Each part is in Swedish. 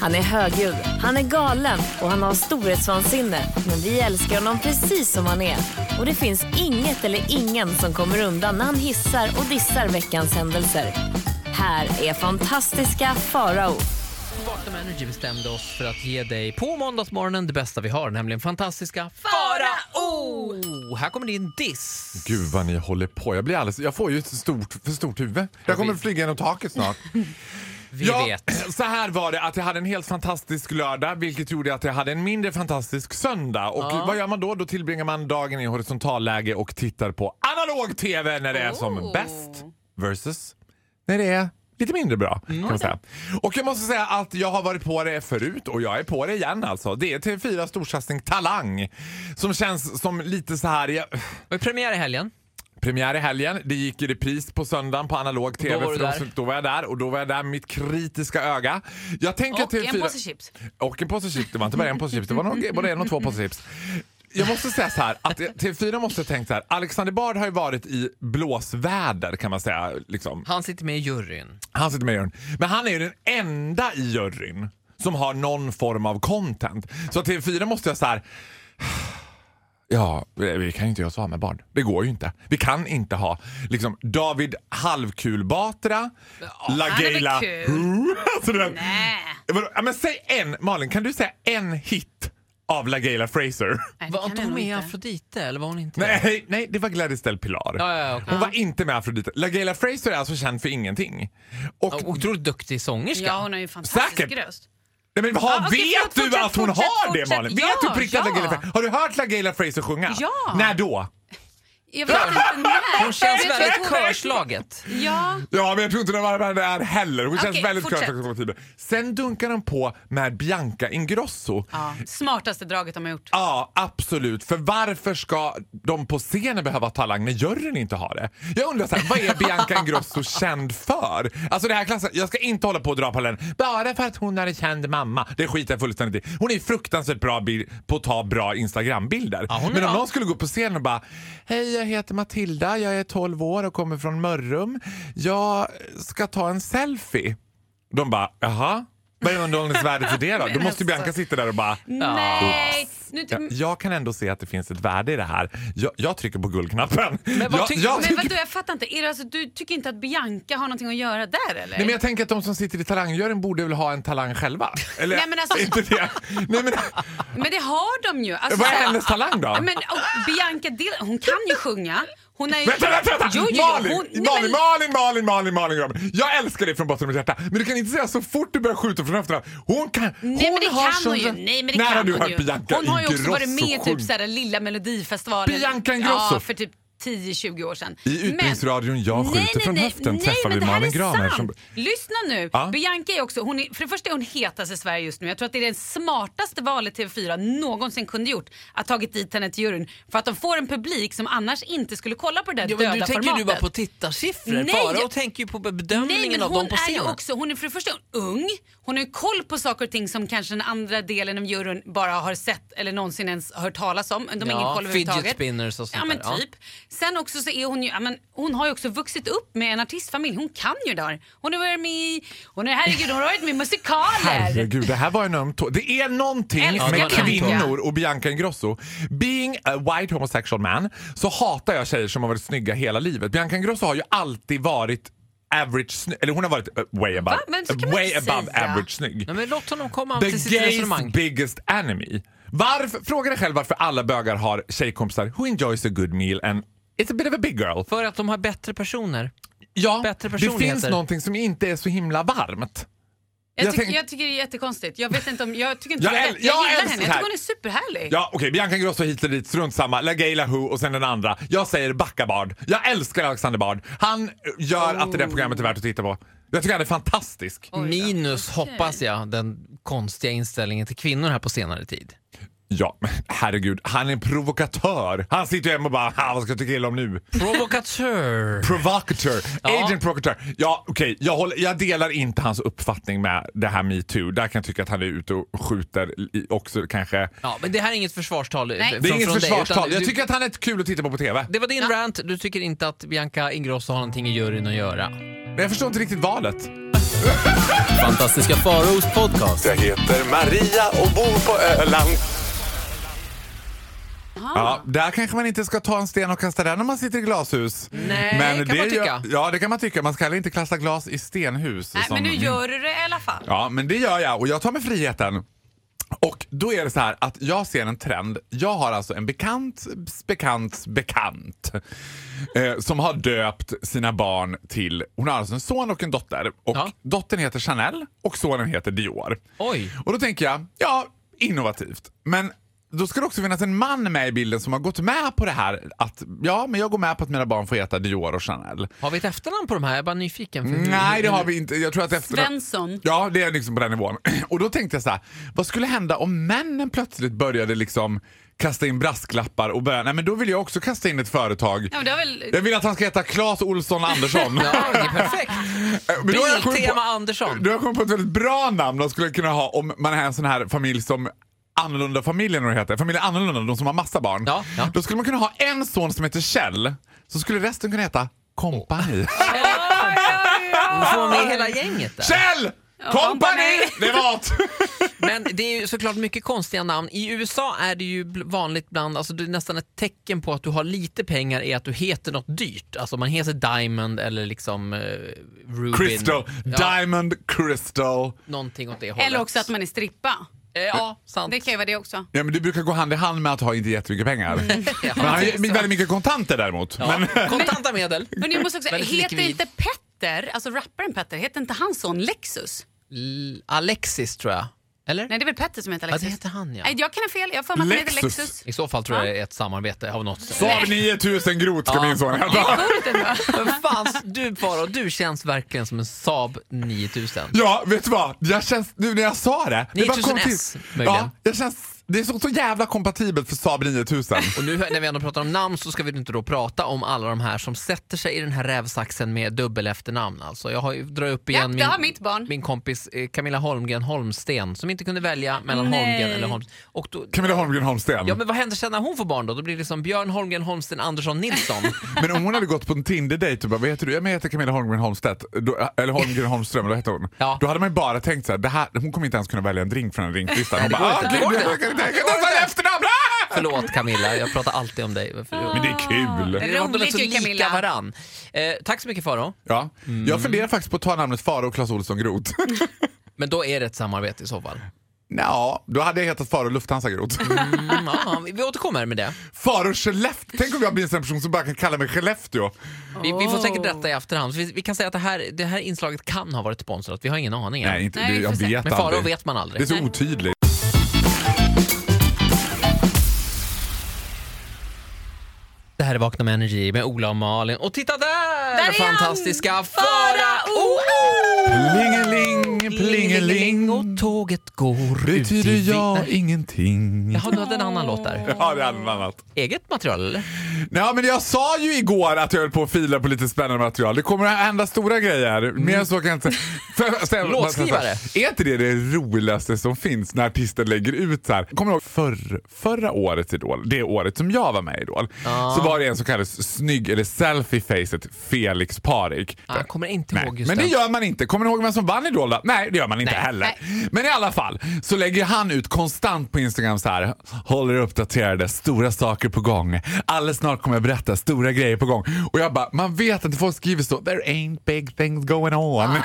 Han är högljudd, han är galen och han har storhetsvansinne. Men vi älskar honom precis som han är. Och det finns inget eller ingen som kommer undan när han hissar och dissar veckans händelser. Här är fantastiska Farao. Vakna med Energy bestämde oss för att ge dig på måndagsmorgonen det bästa vi har, nämligen fantastiska Farao! Här kommer din diss. Gud vad ni håller på. Jag, blir alldeles, jag får ju ett stort, för stort huvud. Jag kommer vi- flyga genom taket snart. Vi vet. Så här var det, att jag hade en helt fantastisk lördag vilket gjorde att jag hade en mindre fantastisk söndag. Och vad gör man då? Då tillbringar man dagen i horisontalläge och tittar på analog-TV när det är Oh. som bäst versus när det är lite mindre bra. Kan Mm. man säga. Och jag måste säga att jag har varit på det förut och jag är på det igen alltså. Det är TV4 storsatsning Talang som känns som lite så här... Jag, Vi premiär i helgen. Premiär i helgen. Det gick i repris på söndagen på analog tv. Då var du för de där. som- då var jag där och då var jag där med mitt kritiska öga. Jag tänker Och till en fyra- påse chips. Och en påse chips. Det var inte bara en påse chips, det var nog både en och två påse chips. Jag måste säga så här, att TV4 måste ha tänkt så här. Alexander Bard har ju varit i blåsväder kan man säga. Liksom. Han sitter med i juryn. Han sitter med i juryn. Men han är ju den enda i juryn som har någon form av content. Så TV4 måste jag så här... Ja, vi kan ju inte göra så med barn. Det går ju inte. Vi kan inte ha liksom David Halvkul Batra, Han LaGeila... är väl kul? Alltså, det där- Nej. Vadå? Ja, Men säg en, Malin, kan du säga en hit av LaGeila Fraser? Nej, det Var kan inte jag hon nog med i inte. Afrodite eller var hon inte det? Nej, nej, det var Gladys Del Pilar. Ja, ja, ja, okej. Hon var inte med Afrodite. LaGeila Fraser är alltså känd för ingenting. Och, Ja, Otroligt duktig sångerska. Ja, hon har ju en fantastisk Säkert. röst. Nej, men har, Ja, okej, vet förlåt, du fortsätt, att hon fortsätt, har fortsätt. det Malin? vet Ja, du på riktigt att ja. LaGaylia Fraser? Har du hört LaGaylia Fraser sjunga? Ja. När då? Jag vet inte när. Hon känns Jag tror väldigt att hon- körslaget. Ja. Ja, men jag tror inte den var där heller. Hon Okej, känns väldigt fortsätt. körskompatibel. Sen dunkar de på med Bianca Ingrosso. ja. Smartaste draget de har gjort. Ja, absolut. För varför ska de på scenen behöva talang när juryn inte har det? Jag undrar så här, vad är Bianca Ingrosso känd för? Alltså det här klassen, jag ska inte hålla på och dra på den. Bara för att hon är en känd mamma. Det skiter jag fullständigt i. Hon är fruktansvärt bra bil- på att ta bra Instagram-bilder. Ja, hon är Men om bra. någon skulle gå upp på scenen och bara Hej, jag heter Matilda, jag är 12 år och kommer från Mörrum. Jag ska ta en selfie. De bara, jaha? Vad är underhållningsvärdet för det då? Då Men måste ju alltså. Bianca sitta där och bara Nej. Nu, Ja, jag kan ändå se att det finns ett värde i det här. Jag, jag trycker på guldknappen. Men vad jag, tycker- jag, men vadå, jag fattar inte. Är det alltså, du tycker inte att Bianca har någonting att göra där eller? Nej, men jag tänker att de som sitter i talangjuryn borde väl ha en talang själva? Eller, Nej, men alltså- inte det. Nej, men, Men det har de ju. Alltså, vad är hennes talang då? Ja, men, och Bianca, Del- hon kan ju sjunga. Hon är ju... Vänta, vänta, vänta! Jo, jo, jo, Malin, hon- nej, Malin, Malin, men- Malin, Malin, Malin, Malin. Jag älskar dig från botten av mitt hjärta. Men du kan inte säga så fort du börjar skjuta från höfterna. Hon kan... hon Nej men det har kan sån hon ju. röst. Nej, men det När kan har du hon hört ju. Bianca Hon har ju också Ingrosso varit med i typ sjunga? så här, lilla melodifestivalen. Bianca Ingrosso. Ja, för typ 10-20 år sedan. I Utbildningsradion Jag skjuter från höften nej, träffar men vi det här Malin är Graner sant. som- Lyssna nu. Ja. Bianca är också, hon är, för det första är hon hetast i Sverige just nu. Jag tror att det är det smartaste valet TV4 någonsin kunde gjort. Att tagit dit henne till juryn. För att de får en publik som annars inte skulle kolla på det där Ja, döda men nu tänker du formatet. bara på tittarsiffror. Nej, Farao jag- tänker ju på Nej, men bedömningen av hon dem på är ju scenen. också, hon är för det första ung, hon har ju koll på saker och ting som kanske den andra delen av juryn bara har sett eller någonsin ens hört talas om. De har Ja, ingen koll fidget överhuvudtaget. spinners och sånt Ja men där, ja. typ. Sen också så är hon ju, ja, men hon har ju också vuxit upp med en artistfamilj, hon kan ju där. Hon har varit med i, hon har, herregud hon har varit med i musikaler. Herregud, det här var en öm tå. Det är någonting Älskar med Bianca. kvinnor och Bianca Ingrosso. Being a white homosexual man så hatar jag tjejer som har varit snygga hela livet. Bianca Ingrosso har ju alltid varit average sny- Eller hon har varit eh, way above, Va? Men så kan man way inte above säga. average snygg. Nej, men låt honom komma The till sitt gays resonemang. biggest enemy. Varför, fråga dig själv varför alla bögar har tjejkompisar who enjoys a good meal and It's a bit of a big girl. För att de har bättre personer. Ja, bättre det finns personligheter. någonting som inte är så himla varmt. Jag, jag tyck, tänk- jag tycker det är jättekonstigt. Jag vet inte om, jag tycker inte Jag det är äl- rätt. Jag, jag gillar älskar henne, det jag här. tycker hon är superhärlig. Ja, okej. Bianca Ingrosso hit eller dit, strunt samma. LaGaylia Who och sen den andra. Jag säger Backa Bard. Jag älskar Alexander Bard. Han gör att det där programmet är värt att titta på. Jag tycker han är fantastisk. Mm. Minus, hoppas jag, den konstiga inställningen till kvinnor här på senare tid. Ja, men herregud. Han är en provokatör. Han sitter ju hemma och bara, "Ha, vad ska jag tycka illa om nu? Provokatör! Provocateur. Ja. Agent provocateur. Ja, okej. Jag, håller- jag delar inte hans uppfattning med det här metoo. Där kan jag tycka att han är ute och skjuter i, också kanske. Ja, men det här är inget försvarstal Nej. Det är Det är inget från Dig, försvarstal. utan Jag du, tycker att han är kul att titta på på TV. det var din rant, du tycker inte att Bianca Ingrosso har någonting i juryn att göra. Men jag förstår inte riktigt valet. Fantastiska Faraos podcast. Jag heter Maria och bor på Öland. Ja, där kanske man inte ska ta en sten och kasta den om man sitter i glashus. Nej, kan man gör- tycka. Ja, det kan man tycka. Man ska heller inte klassa glas i stenhus. Nej, som men nu min- gör du det i alla fall. Ja, men det gör jag och jag tar mig friheten. Och då är det så här att jag ser en trend. Jag har alltså en bekant, bekant, bekant eh, som har döpt sina barn till... Hon har alltså en son och en dotter. Och Ja. Dottern heter Chanel och sonen heter Dior. Oj. Och då tänker jag, ja, innovativt. Men då ska det också finnas en man med i bilden som har gått med på det här att ja, men jag går med på att mina barn får heta Dior och Chanel. Har vi ett efternamn på de här? Jag är bara nyfiken. För Mm. Nej, det har vi inte. Jag tror att efter... Svensson. Ja, det är liksom på den nivån. Och då tänkte jag så här, vad skulle hända om männen plötsligt började liksom kasta in brasklappar och börja, nej men då vill jag också kasta in ett företag. Ja, men det har väl... Jag vill att han ska heta Claes Olsson Andersson. Ja, det är perfekt. Men då har jag kommit på- Biltema Andersson. Du har kommit på ett väldigt bra namn de skulle kunna ha om man är en sån här familj som Annorlunda familjen vad det heter. Familjen Annorlunda, de som har massa barn. Ja, ja. Då skulle man kunna ha en son som heter Kjell, så skulle resten kunna heta Kompani. Du får med hela gänget där. Kjell! Kompani! Company! Det var allt. Men det är ju såklart mycket konstiga namn. I USA är det ju bl- vanligt bland, alltså det är nästan ett tecken på att du har lite pengar är att du heter något dyrt. Alltså man heter Diamond eller liksom eh, Rubin. Crystal. Ja, Diamond Crystal. någonting åt det hållet. Eller också att man är strippa. Eh, Ja, sant. Det kan ju vara det också. Ja, men det brukar gå hand i hand med att ha inte jättemycket pengar. Mm. Ja, Men han har ju det är så. väldigt mycket kontanter däremot. Ja, Men, Kontanta medel. Men du måste också, Väldigt heter likvid. inte Petter, alltså rapparen Petter, heter inte hans son Lexus? L- Alexis tror jag. Eller? Nej, det är väl Petter som heter Ja, Lexus? det heter han ja. Nej, jag kan ha fel. Jag har för mig att han heter Lexus. Lexus. I så fall tror jag det är ett samarbete av något. Saab 9000 Groth ska Ja. min son heta. Men fan, du Faro, du känns verkligen som en Saab 9000. Ja, vet du vad? Jag känns, nu när jag sa det. det bara kom 9000 till. S, möjligen. ja, jag känns, Det är så, så jävla kompatibelt för Saab 9000. Och nu när vi ändå pratar om namn så ska vi inte då prata om alla de här som sätter sig i den här rävsaxen med dubbel efternamn. Alltså jag har ju- drar upp Japp, igen det min, har mitt barn. min kompis eh, Camilla Holmgren Holmsten som inte kunde välja mellan Nej. Holmgren eller Holmsten. Och då, Camilla Holmgren Holmsten. ja men vad händer sen när hon får barn då? Då blir det liksom Björn Holmgren Holmsten Andersson Nilsson. Men om hon hade gått på en Tinder-dejt och bara, vad heter du? Ja, men Jag heter Camilla Holmgren Holmstedt. Då, eller Holmgren Holmström, då heter hon. Ja. Då hade man ju bara tänkt så här, det här, hon kommer inte ens kunna välja en drink från en drinklista. Hon det bara, går ah, inte. gud, Det går jag kan inte tänka mig ett efternamn! Ah! Förlåt Camilla, jag pratar alltid om dig. Förlåt. Men det är kul. Det var- de Ah, är Roligt så ju, lika Camilla. varann. Eh, tack så mycket Faro. Ja. Jag funderar faktiskt på att ta namnet Faro och Clas Olsson Groth. Men då är det ett samarbete i så fall. Ja, då hade jag hetat Faro Lufthansa Groth. Mm, ja, vi vi återkommer med det. Faro Skellefteå. Tänk om jag blir en sån person som bara kan kalla mig Skellefteå. Vi, vi får säkert rätta i efterhand. Så vi, vi kan säga att det här, det här inslaget kan ha varit sponsrat. Vi har ingen aning än. Nej, inte, Nej, det, vi jag får se. vet Men Faro aldrig. vet man Det är aldrig. så otydligt. Det här är Vakna med Energy med Ola och Malin. Och titta där! Där är han! Fantastiska Farao! Farao! Plingeling, Och plingeling. tåget går ut Betyder i vi- jag Nej, ingenting? Jaha, du hade en annan låt där. Ja, det är allt annat. Eget material eller? Nej, men jag sa ju igår att jag höll på att fila på lite spännande material. Det kommer att hända stora grejer. Mer än så kan jag inte... För- ställa- Låtskrivare. Är inte det det roligaste som finns när artister lägger ut så här? Kommer du ihåg förr, förra årets Idol? Det året som jag var med i Idol. Så var det en som kallades snygg, eller selfie-facet, Felix Parik. Ah, jag kommer inte Nej, ihåg just men det den. gör man inte. Kommer ni ihåg vem som vann Idol då? Nej, det gör man inte Nej. heller. Men i alla fall så lägger han ut konstant på Instagram så här. Håll er uppdaterade, stora saker på gång. Alldeles snart kommer jag berätta, stora grejer på gång. Och jag bara, man vet att folk skriver så. There ain't big things going on.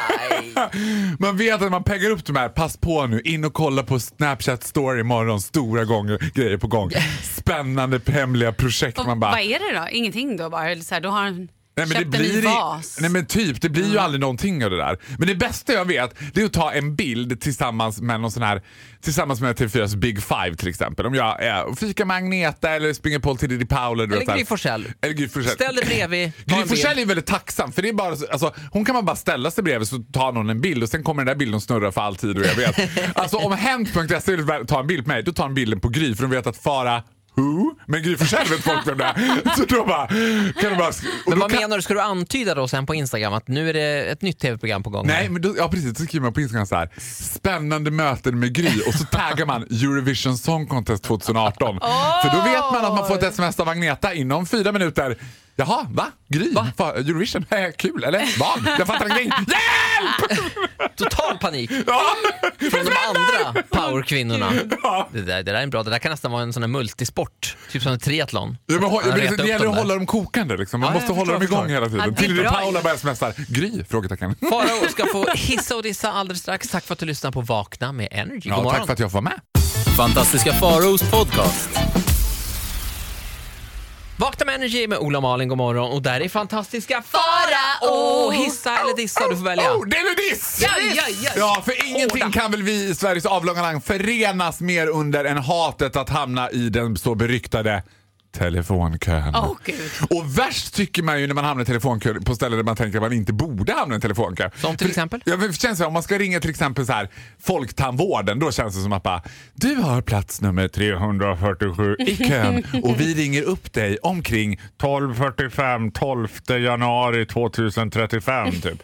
man vet att man peggar upp de här, pass på nu, in och kolla på Snapchat story imorgon, stora gånger, grejer på gång. Spännande hemliga projekt. Och man bara, Vad är det då? Ingenting då bara? Eller så här, då har han Nej, men köpt det blir en ny i- vas? Nej men typ, det blir Mm. ju aldrig någonting av det där. Men det bästa jag vet det är att ta en bild tillsammans med någon sån här, tillsammans med TV4s Big Five till exempel. Om jag är och fikar med Agneta eller springer på till Diddy Powell. du vet så Eller här. Gry Forssell. Eller Gry Forssell. Ställ dig bredvid. ta Gry en bild. Forssell är väldigt tacksam för det är bara, så- alltså, hon kan man bara ställa sig bredvid så tar någon en bild och sen kommer den där bilden snurra för all tid och jag vet. alltså om Hent.se vill ta en bild på mig då tar de bilden på Gry för de vet att fara Who? Men Gry Forssell vet folk vem det är. Så då bara, kan de bara, sk- och Men då vad kan, menar du? Ska du antyda då sen på Instagram att nu är det ett nytt tv-program på gång? Nej, men då, ja, precis. Då skriver man på Instagram så här. Spännande möten med Gry och så taggar man Eurovision Song Contest 2018. För då vet man att man får ett sms av Agneta inom fyra minuter. Jaha, va? Gry? Va? Eurovision? Eh, Kul, eller? Barn? Jag fattar ingenting. Hjälp! Total panik Ja. från de andra powerkvinnorna. Det där, det där är en bra, det där kan nästan vara en sån här multisport, typ som en triathlon. Ja, men, hå- Man men det, retar det upp gäller dem att där. hålla dem kokande. Liksom. Man Ja, måste jag hålla dem förstår, igång hela Ja, tiden. det är Till bra Paula ju. börjar smsar. Gry? Frågetecken. Farao ska få hissa och dissa alldeles strax. Tack för att du lyssnar på Vakna med Energy. God Ja, morgon. tack för att jag får vara med. Fantastiska Faraos podcast. Vakna med Energy med Ola och Malin, god morgon. Och där är fantastiska Farao! hissa eller dissa, du får välja. Oh, det är nu diss! Ja, ja, ja. Ja, för ingenting kan väl vi i Sveriges avlånga land förenas mer under än hatet att hamna i den så beryktade telefonkön. Åh gud. Och värst tycker man ju när man hamnar i telefonkö på ställen där man tänker att man inte borde hamna i en telefonkö. Som till För- exempel? Ja, men det känns så här, om man ska ringa till exempel så här, Folktandvården, då känns det som att bara, du har plats nummer 347 i kön och vi ringer upp dig omkring 12.45 12 januari 2035 typ.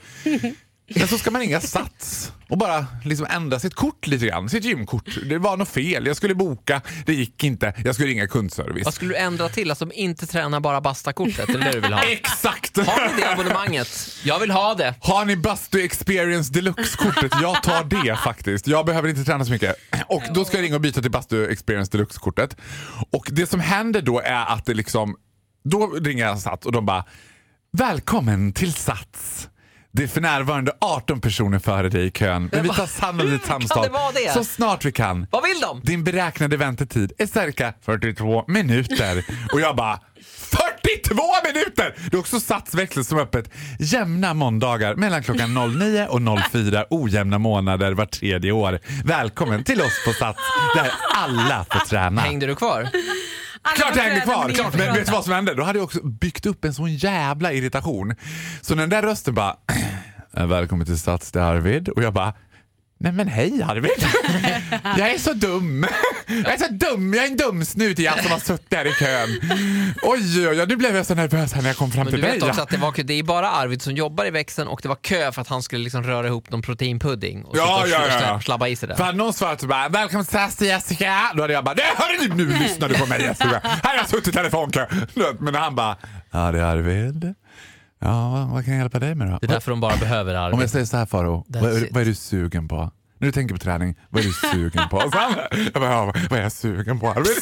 Men så ska man ringa Sats och bara liksom ändra sitt kort lite grann, sitt gymkort. Det var något fel, jag skulle boka, det gick inte, jag skulle ringa kundservice. Vad skulle du ändra till? Alltså inte träna bara bastakortet, eller det du vill ha? Exakt! Har ni det abonnemanget? Jag vill ha det. Har ni Bastu Experience Deluxe-kortet? Jag tar det faktiskt. Jag behöver inte träna så mycket. Och då ska jag ringa och byta till Bastu Experience Deluxe-kortet. Och det som händer då är att det liksom... Då ringer jag Sats och de bara Välkommen till Sats. Det är för närvarande 18 personer före dig i kön, men vi tar sannolikt kan samtal det vara det? så snart vi kan. Vad vill de? Din beräknade väntetid är cirka 42 minuter. Och jag bara 42 minuter! Det är också satsväxel som är öppet jämna måndagar mellan klockan 09 och 04 ojämna månader var tredje år. Välkommen till oss på Sats där alla får träna. Hängde du kvar? Alla Klart de jag hängde träden kvar! med Klart. Men vet du vad som hände? Då hade jag också byggt upp en sån jävla irritation. Så den där rösten bara "Äh, Välkommen till Stats, det är Arvid. Och jag bara Nej men hej Arvid! Jag är så dum! Jag är så dum, jag är en dum snut i allt som har suttit där i kön. Oj, oj, oj, nu blev jag så nervös här när jag kom fram Men till du dig. vet också att det, var, kö- det är bara Arvid som jobbar i växeln och det var kö för att han skulle liksom röra ihop någon proteinpudding och, sitta Ja, och ja, sl- ja. sl- slabba i sig det. För hade någon svarat så bara “Välkommen till SAS till Jessica”. Då hade jag bara "Nej, hörru, nu, nu lyssnar du på mig Jessica. Här har jag suttit i telefonkö. Du vet, Men han bara “Ja det är Arvid. Ja, vad, vad kan jag hjälpa dig med då?” Det är därför de bara behöver Om jag Arvid. säger så här Faro, vad, är- it. vad är du sugen på? När du tänker på träning, vad är du sugen på? Och sen, jag bara, ja, vad är jag sugen på Arvid?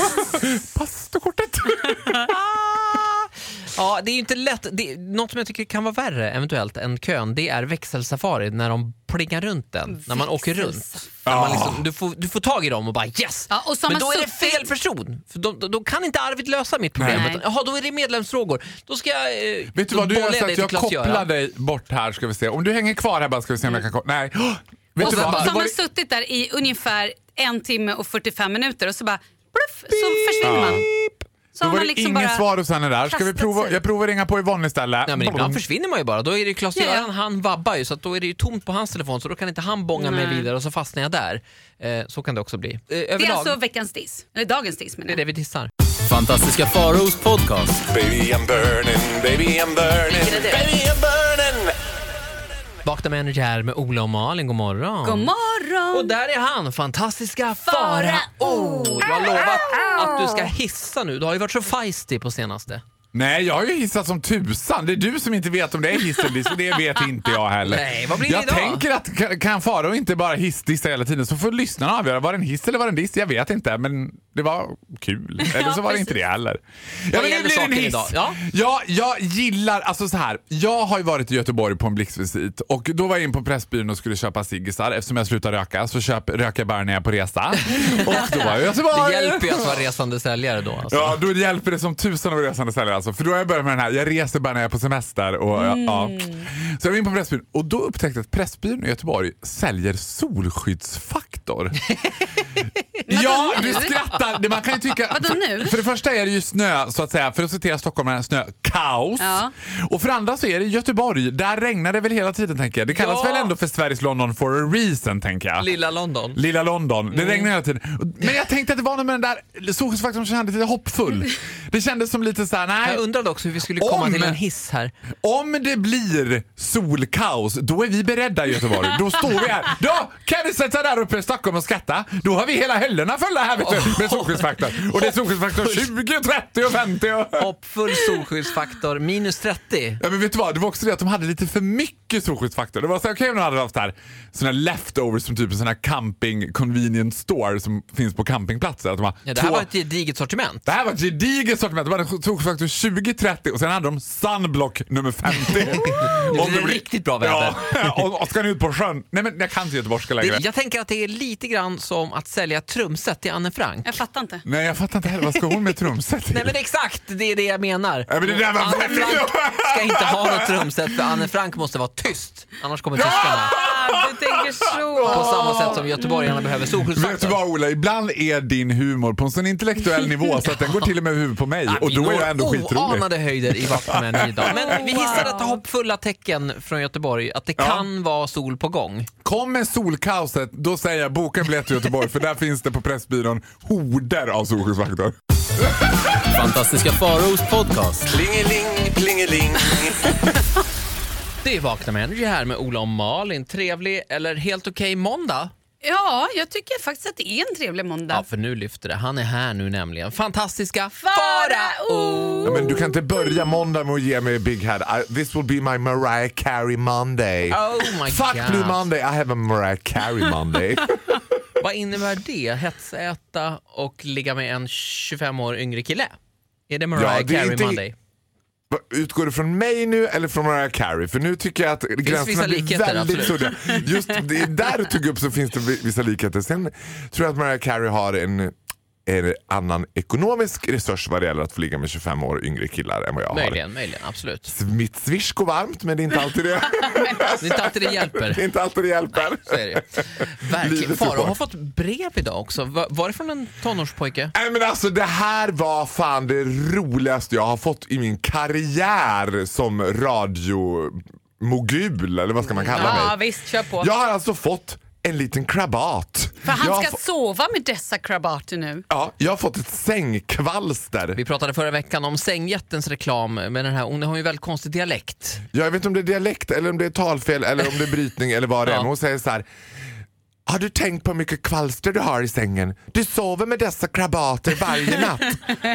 Pastokortet! Ah! Ja, det är ju inte lätt. Det, något som jag tycker kan vara värre eventuellt än kön, det är växelsafari när de plingar runt den. När man åker runt. När man liksom, du, får, du får tag i dem och bara yes! Ja, och så har Men man då är det suttit- fel person. För då, då, då kan inte Arvid lösa mitt problem. Nej. Utan, Jaha, då är det medlemsfrågor. Då ska jag... Eh, Vet du då vad, du bollar gör så dig att till jag Klas-Göran. kopplar dig bort här ska vi se. Om du hänger kvar här bara ska vi se om jag kan koppla. Nej. Oh, vet Och du så, vad? så Det har var- man suttit där i ungefär en timme och 45 minuter och så bara pluff, så försvinner man. Så Då var har man det liksom ingen bara... svar hos henne där. Ska vi kastat prova? sig. Jag provar ringa på Yvonne istället. Nej, men ibland försvinner man ju bara. Då är det Klas-Göran, Mm. Ja, ja. han vabbar ju så att då är det ju tomt på hans telefon så då kan inte han bånga mig Nej. vidare och så fastnar jag där. Eh, så kan det också bli. Eh, Det överlag, är alltså veckans diss. Eller dagens diss menar det är jag. det vi dissar. Fantastiska Faraos podcast. Baby I'm burning, baby I'm burning, Vilken är det? baby I'm burning. Vakna med Energy här med Ola och Malin, god morgon. God morgon! Och där är han, fantastiska Farao! Du har lovat att du ska hissa nu. Du har ju varit så feisty på senaste. Nej, jag har ju hissat som tusan. Det är du som inte vet om det är hiss eller diss och det vet inte jag heller. Nej, vad blir det jag idag? tänker att kan- kan Farao inte bara hissdissa hela tiden så får lyssnarna avgöra. Var det en hiss eller var det en diss? Jag vet inte, men det var kul. Eller så var det inte det heller. Ja, men gäller nu blir det en saken hiss. idag? Ja. Ja, jag gillar, alltså så här. Jag har ju varit i Göteborg på en blixtvisit och då var jag in på Pressbyrån och skulle köpa ciggisar. Eftersom jag slutar röka så köp, röker jag bara när jag är på resa. Och då var jag i Göteborg. Det hjälper ju att vara resande säljare då. Alltså. Ja, då hjälper det som tusan att vara resande säljare alltså. För då har jag börjat med den här, jag reser bara när jag är på semester. Och, ja. Mm. Så jag var in på Pressbyrån och då upptäckte jag att Pressbyrån i Göteborg säljer solskyddsfaktor. ja, du skrattar. Det- Man kan ju tycka... Vadå nu? För det första är det ju snö, så att säga, för att citera stockholmare, snö, kaos. Ja. Och för det andra så är det Göteborg, där regnar det väl hela tiden tänker jag. Det kallas Ja. väl ändå för Sveriges London for a reason tänker jag. Lilla London. Lilla London. Mm. Det regnar hela tiden. Men jag tänkte att det var något med den där solskyddsfaktorn som kändes lite hoppfull. Det kändes som lite så här, nej. Jag undrade också hur vi skulle komma Om- till en hiss här. Om det blir solkaos, då är vi beredda i Göteborg. Då står vi här. Då kan ni sätta där uppe i Stockholm och skratta. Då har vi hela hyllorna fulla här vet du, med solskyddsfaktor. Och det är solskyddsfaktor 20, 30 och 50. Och... Hoppfull solskyddsfaktor, minus 30. Ja, men vet du vad? Det var också det att de hade lite för mycket solskyddsfaktor. Det var så här, okej om de hade haft så här, såna leftovers som typ en sån här camping convenience store som finns på campingplatser. Att de har Ja, det här två... var ett gediget sortiment. det här var ett gediget sortiment. De hade solskyddsfaktor 20, 30 och sen hade de sunblock nummer 50. Det Om blir riktigt bra väder. Ja, och, och ska ni ut på sjön? Nej men jag kan inte göteborgska längre. Det, jag tänker att det är lite grann som att sälja trumset till Anne Frank. Jag fattar inte. Nej jag fattar inte heller, vad ska hon med trumset till? Nej men exakt, det är det jag menar. Ja, men det där var Anne väldigt- Frank ska inte ha något trumset för Anne Frank måste vara tyst, annars kommer tyskarna. Ah, du tänker På så. samma sätt som göteborgarna behöver Vet du solskyddsfaktor. vad Ola, ibland är din humor på en sån intellektuell nivå så att den går till och med över huvudet på mig Ja, och vi då är når jag ändå skitrolig. oanade höjder i Vakna med en ny dag. Men vi hissar detta hoppfulla tecken från Göteborg att det kan vara sol på gång. Kommer solkaoset, då säger jag boka en biljett till Göteborg för där finns det på Pressbyrån horder av solskyddsfaktor. Fantastiska Faraos podcast. Plingeling, plingeling. Det är Vakna med Energy här med Ola och Malin. Trevlig eller helt okej måndag? Ja, jag tycker faktiskt att det är en trevlig måndag. Ja, för nu lyfter det. Han är här nu nämligen. Fantastiska Farao! Farao! Ja, men du kan inte börja måndag med att ge mig Big Head. I, this will be my Mariah Carey Monday. Oh my Fuck God. Blue Monday, I have a Mariah Carey Monday. Vad innebär det? Hetsäta och ligga med en 25 år yngre kille? Är det Mariah Ja, det är Carey inte- Monday? Va, Utgår det från mig nu eller från Mariah Carey? För nu tycker jag att gränserna vissa blir likheter, väldigt absolut. suddiga. Just det, där du tog upp så finns det vi- vissa likheter. Sen tror jag att Mariah Carey har en, en annan ekonomisk resurs vad det gäller att få ligga med 25 år yngre killar än vad jag Möjligen, möjligen, absolut. har. Mitt swish går varmt men det är inte alltid det, Det är inte alltid det det, är hjälper. inte alltid det hjälper. Så är det. ju. Verkligen. Livet är Farao hårt. har fått brev idag också. Va- Var det från en tonårspojke? Nej men alltså det här var fan det roligaste jag har fått i min karriär som radiomogul eller vad ska man kalla mig? Ja, visst, kör på. Jag har alltså fått en liten krabat. För jag, han har ska få- sova med dessa krabater nu. ja, jag har fått ett sängkvalster. Vi pratade förra veckan om sängjättens reklam med den här, hon har ju en väldigt konstig dialekt. Jag vet inte om det är dialekt, eller om det är talfel, eller om det är brytning eller vad det är. Ja. Men hon säger så här. Har du tänkt på hur mycket kvalster du har i sängen? Du sover med dessa krabater varje natt.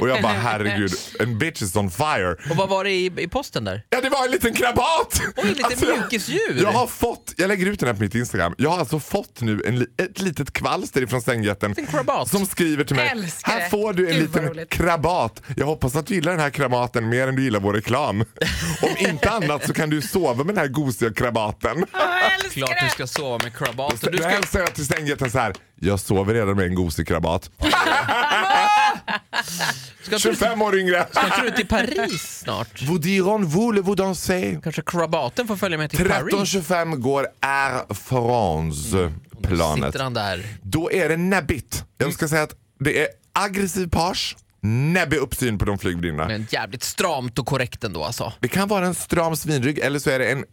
Och jag bara herregud, en bitch is on fire. Och vad var det i, i posten där? Ja det var en liten krabat! Alltså, Oj, lite jag- mjukisdjur. Jag har fått, jag lägger ut den här på mitt Instagram, jag har alltså fått nu en, li- ett litet kvalster ifrån sängjätten En krabat. som skriver till mig. Älskar här det. får du en Gud, vad liten roligt." krabat. Jag hoppas att du gillar den här krabaten mer än du gillar vår reklam. Om inte annat så kan du sova med den här gosiga krabaten. Ah. Jag älskar Klart du det! ska sova med krabat. Och Du du ska... ska, hälsar jag till sängjätten så här. Jag sover redan med en gosig krabat. ska, ska, 25 år yngre. ska du till Paris snart? Vous diront, vous le vous dansez. Kanske krabaten får följa med till Paris? 13.25 går Air France planet. Mm. Sitter han där. Då är det näbbigt. Jag ska säga att det är aggressiv page, näbbig uppsyn på de flygvärdinnorna. Men jävligt stramt och korrekt ändå alltså. Det kan vara en stram svinrygg eller så är det en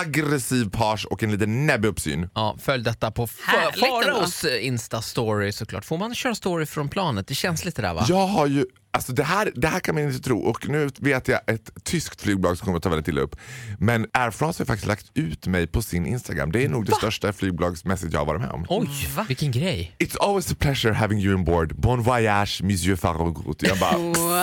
aggressiv page och en liten näbbig uppsyn. Ja, följ detta på Fa- Härligt ändå. Faraos Insta-story såklart. Får man köra story från planet? Det känns lite där va? Jag har ju, alltså det här, det här kan man inte tro och nu vet jag ett tyskt flygbolag som kommer att ta väldigt illa upp. Men Air France har faktiskt lagt ut mig på sin Instagram. Det är nog det största flygbolagsmässigt jag har varit med om. Oj, vilken grej. It's always a pleasure having you on board. Bon voyage, monsieur Farrogot. Jag bara, Wow!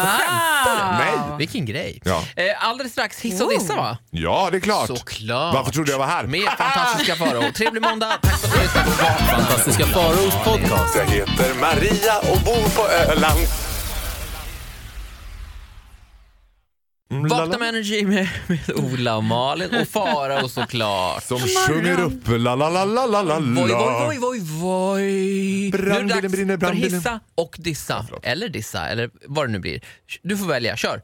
nej! Vilken grej. Ja. Eh, alldeles strax hiss och dissa va? Ja, det är klart. Såklart. Varför trodde jag var här? Med fantastiska Farao. Trevlig måndag. Tack för att du lyssnade på Vakna. Fantastiska Faraos podcast. Jag heter Maria och bor på Öland. Mm, Vakna med Energy med, med Ola och Malin och Farao såklart. Som sjunger upp la la la la la la Voj, voj, la. voj, voj, voj. Mm. Brandbilen nu är det dags brinner, för brandbilen. hissa och dissa. Eller dissa, eller vad det nu blir. Du får välja, kör.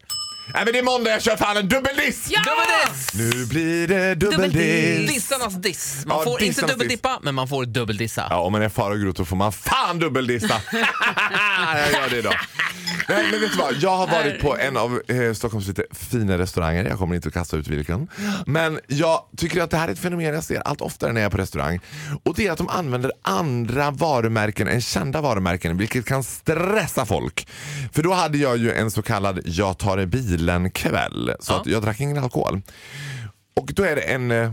Nej men det är måndag, jag kör fan en dubbeldiss! Ja! Dubbeldiss! Nu blir det dubbeldiss. Dissarnas diss. Man Ja, får inte dissarnas dubbeldippa, men man får dubbeldissa. Ja, om man är far och grot då får man fan dubbeldissa. jag gör det idag. Nej, men vet du vad? Jag har varit på en av eh, Stockholms lite fina restauranger. Jag kommer inte att kasta ut vilken. Men jag tycker att det här är ett fenomen jag ser allt oftare när jag är på restaurang. Och det är att de använder andra varumärken än kända varumärken vilket kan stressa folk. För då hade jag ju en så kallad jag tar bilen kväll. Så att jag drack ingen alkohol. Och då är det en eh,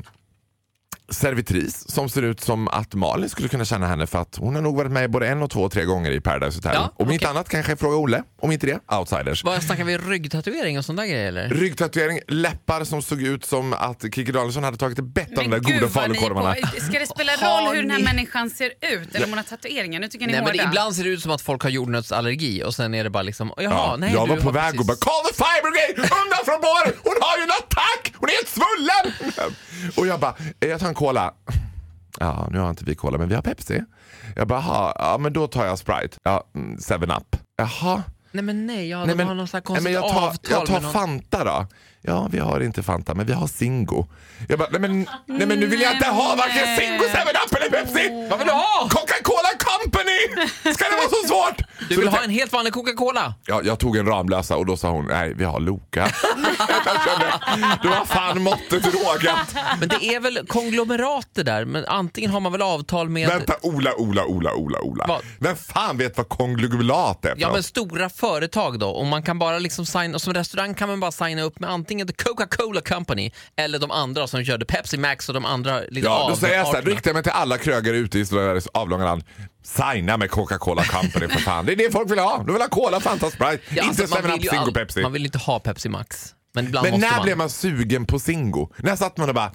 servitris som ser ut som att Malin skulle kunna känna henne för att hon har nog varit med både en och två, tre gånger i Paradise Hotel. Ja, Om inte okej. annat kanske Fråga Olle, om inte det, Outsiders. Vad snackar vi ryggtatuering och sådana där grejer eller? Ryggtatuering, läppar som såg ut som att Kiki Danielsson hade tagit ett bett om de där Men gud goda vad ni är falukorvarna. på. Ska det spela Har roll hur den här ni- människan ser ut? Eller om hon har tatueringar? Nu tycker jag ni Nej är men hårda. ibland ser det ut som att folk har jordnötsallergi och sen är det bara liksom, jaha, Ja, nej jag du var på har väg och bara precis- “Call the fire brigade! Undan från båren! Hon har ju en attack! Hon är helt svullen!” Och jag bara “Eh, “Jag tar en cola”. Ja, nu har inte vi cola, men vi har Pepsi. Jag bara “Jaha, ja men då tar jag Sprite. Ja, mm, Seven up Jaha. Nej men nej, ja, Nej, de har någon sån här nej, konstigt men jag tar, avtal jag tar med någon. Fanta då. Ja, vi har inte Fanta, men vi har Zingo. Jag bara, nej men, nej, men nu vill jag inte ha varken Nej. Zingo, Seven up eller Pepsi! Vad vill du ha? Coca-Cola Company! Ska det vara så svårt? Du Så vill då- ha en helt vanlig Coca-Cola? Ja, jag tog en Ramlösa och då sa hon nej, vi har Loka. jag kände, det var fan måttet rågat. Men det är väl konglomerat det där, men antingen har man väl avtal med Vänta, Ola, Ola, Ola, Ola, Ola. Vad? Vem fan vet vad konglomerat är för Ja men något? stora företag då och man kan bara liksom signa, och som restaurang kan man bara signa upp med antingen The Coca-Cola Company eller de andra som körde Pepsi Max och de andra liksom Ja, då av- säger jag så här, då arterna. riktar jag mig till alla krögare ute i Sveriges avlånga land. Signa med Coca-Cola Company för fan. Det är det folk vill ha. De vill ha Cola, Fanta, Sprite. Ja, inte alltså, man 7-Up, vill ju Zingo, all- Pepsi. Man vill inte ha Pepsi Max. Men ibland Men måste när man. blev man sugen på Zingo? När satt man och bara,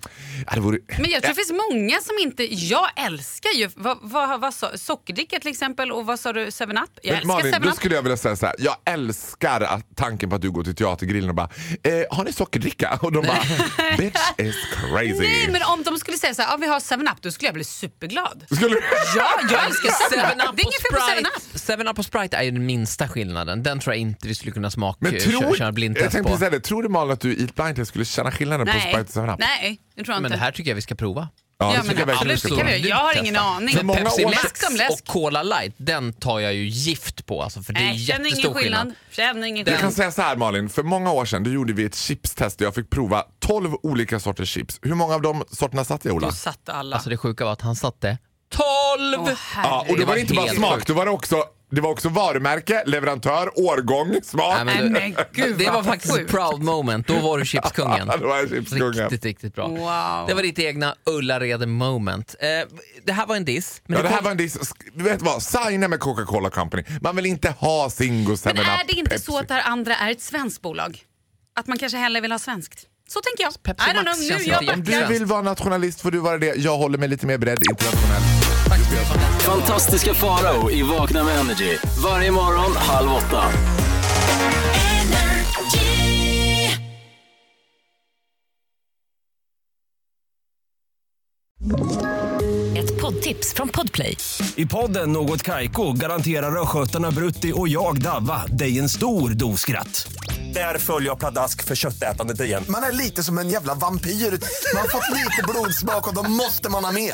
ja, det vore... Men jag tror det finns många som inte... Jag älskar ju vad, vad, vad, sa- sockerdricka till exempel och vad sa du, 7-Up? Jag Men älskar Malin, 7-Up. då skulle jag vilja säga så här. Jag älskar att tanken på att du går till teatergrillen och bara eh, “Har ni sockerdricka?” och de bara “Bitch is crazy”. Nej, men om de skulle säga så här, ja, vi har 7-Up, då skulle jag bli superglad. Skulle... Ja, jag älskar 7-Up. Seven-Up Det är och inget fel på 7-Up. Sprite. Seven up och Sprite är ju den minsta skillnaden. Den tror jag inte vi skulle kunna smaka Men tror, köra jag blindtest tänkte på. precis säga det, tror du Malin att du i ett blindtest skulle känna skillnaden på Nej, Sprite och 7-Up? nej, det tror jag inte. Men det här tycker jag vi ska prova. Ja, ja, det men tycker jag verkligen vi absolut, ska det kan prova. vi göra. Jag har ingen Testa. aning. För många Pepsi år Max Läsk om läsk. och Cola Light, den tar jag ju gift på alltså, för det är Nej, känner jättestor ingen skillnad. skillnad. Känner ingen Jag kan skillnad. säga så här Malin, för många år sedan då gjorde vi ett chipstest där jag fick prova 12 olika sorters chips. Hur många av de sorterna satt jag Ola? Du satte alla. Alltså det sjuka var att han satte 12! Åh, Ja, och då det var var det inte bara helt smak, sjukt. då var det också, det var också varumärke, leverantör, årgång, smak. Nej, men Nej, men gud, det var vad faktiskt ett sjukt. proud moment. Då var du chipskungen. Alltså, Då var jag chipskungen. Riktigt, riktigt bra. Wow. Det var ditt egna Ullared moment. Eh, det här var en diss. Men Ja, det det här kom- var en diss. Du vet vad? Signa med Coca-Cola Company. Man vill inte ha Zingo, 7 Men är det inte så att det här andra är ett svenskt bolag? Att man kanske hellre vill ha svenskt? Så tänker jag. Pepsi I don't Max känns know, nu inte jag jätte- Om du backar. vill vara nationalist får du vara det. Jag håller mig lite mer bredd internationellt. Fantastiska Farao i Vakna med Energy. Varje morgon halv åtta. Ett poddtips från Podplay. I podden Något Kaiko garanterar östgötarna Brutti och jag, Davva, dig en stor dos skratt. Där följer jag pladask för köttätandet igen. Man är lite som en jävla vampyr. Man har fått lite blodsmak och då måste man ha mer.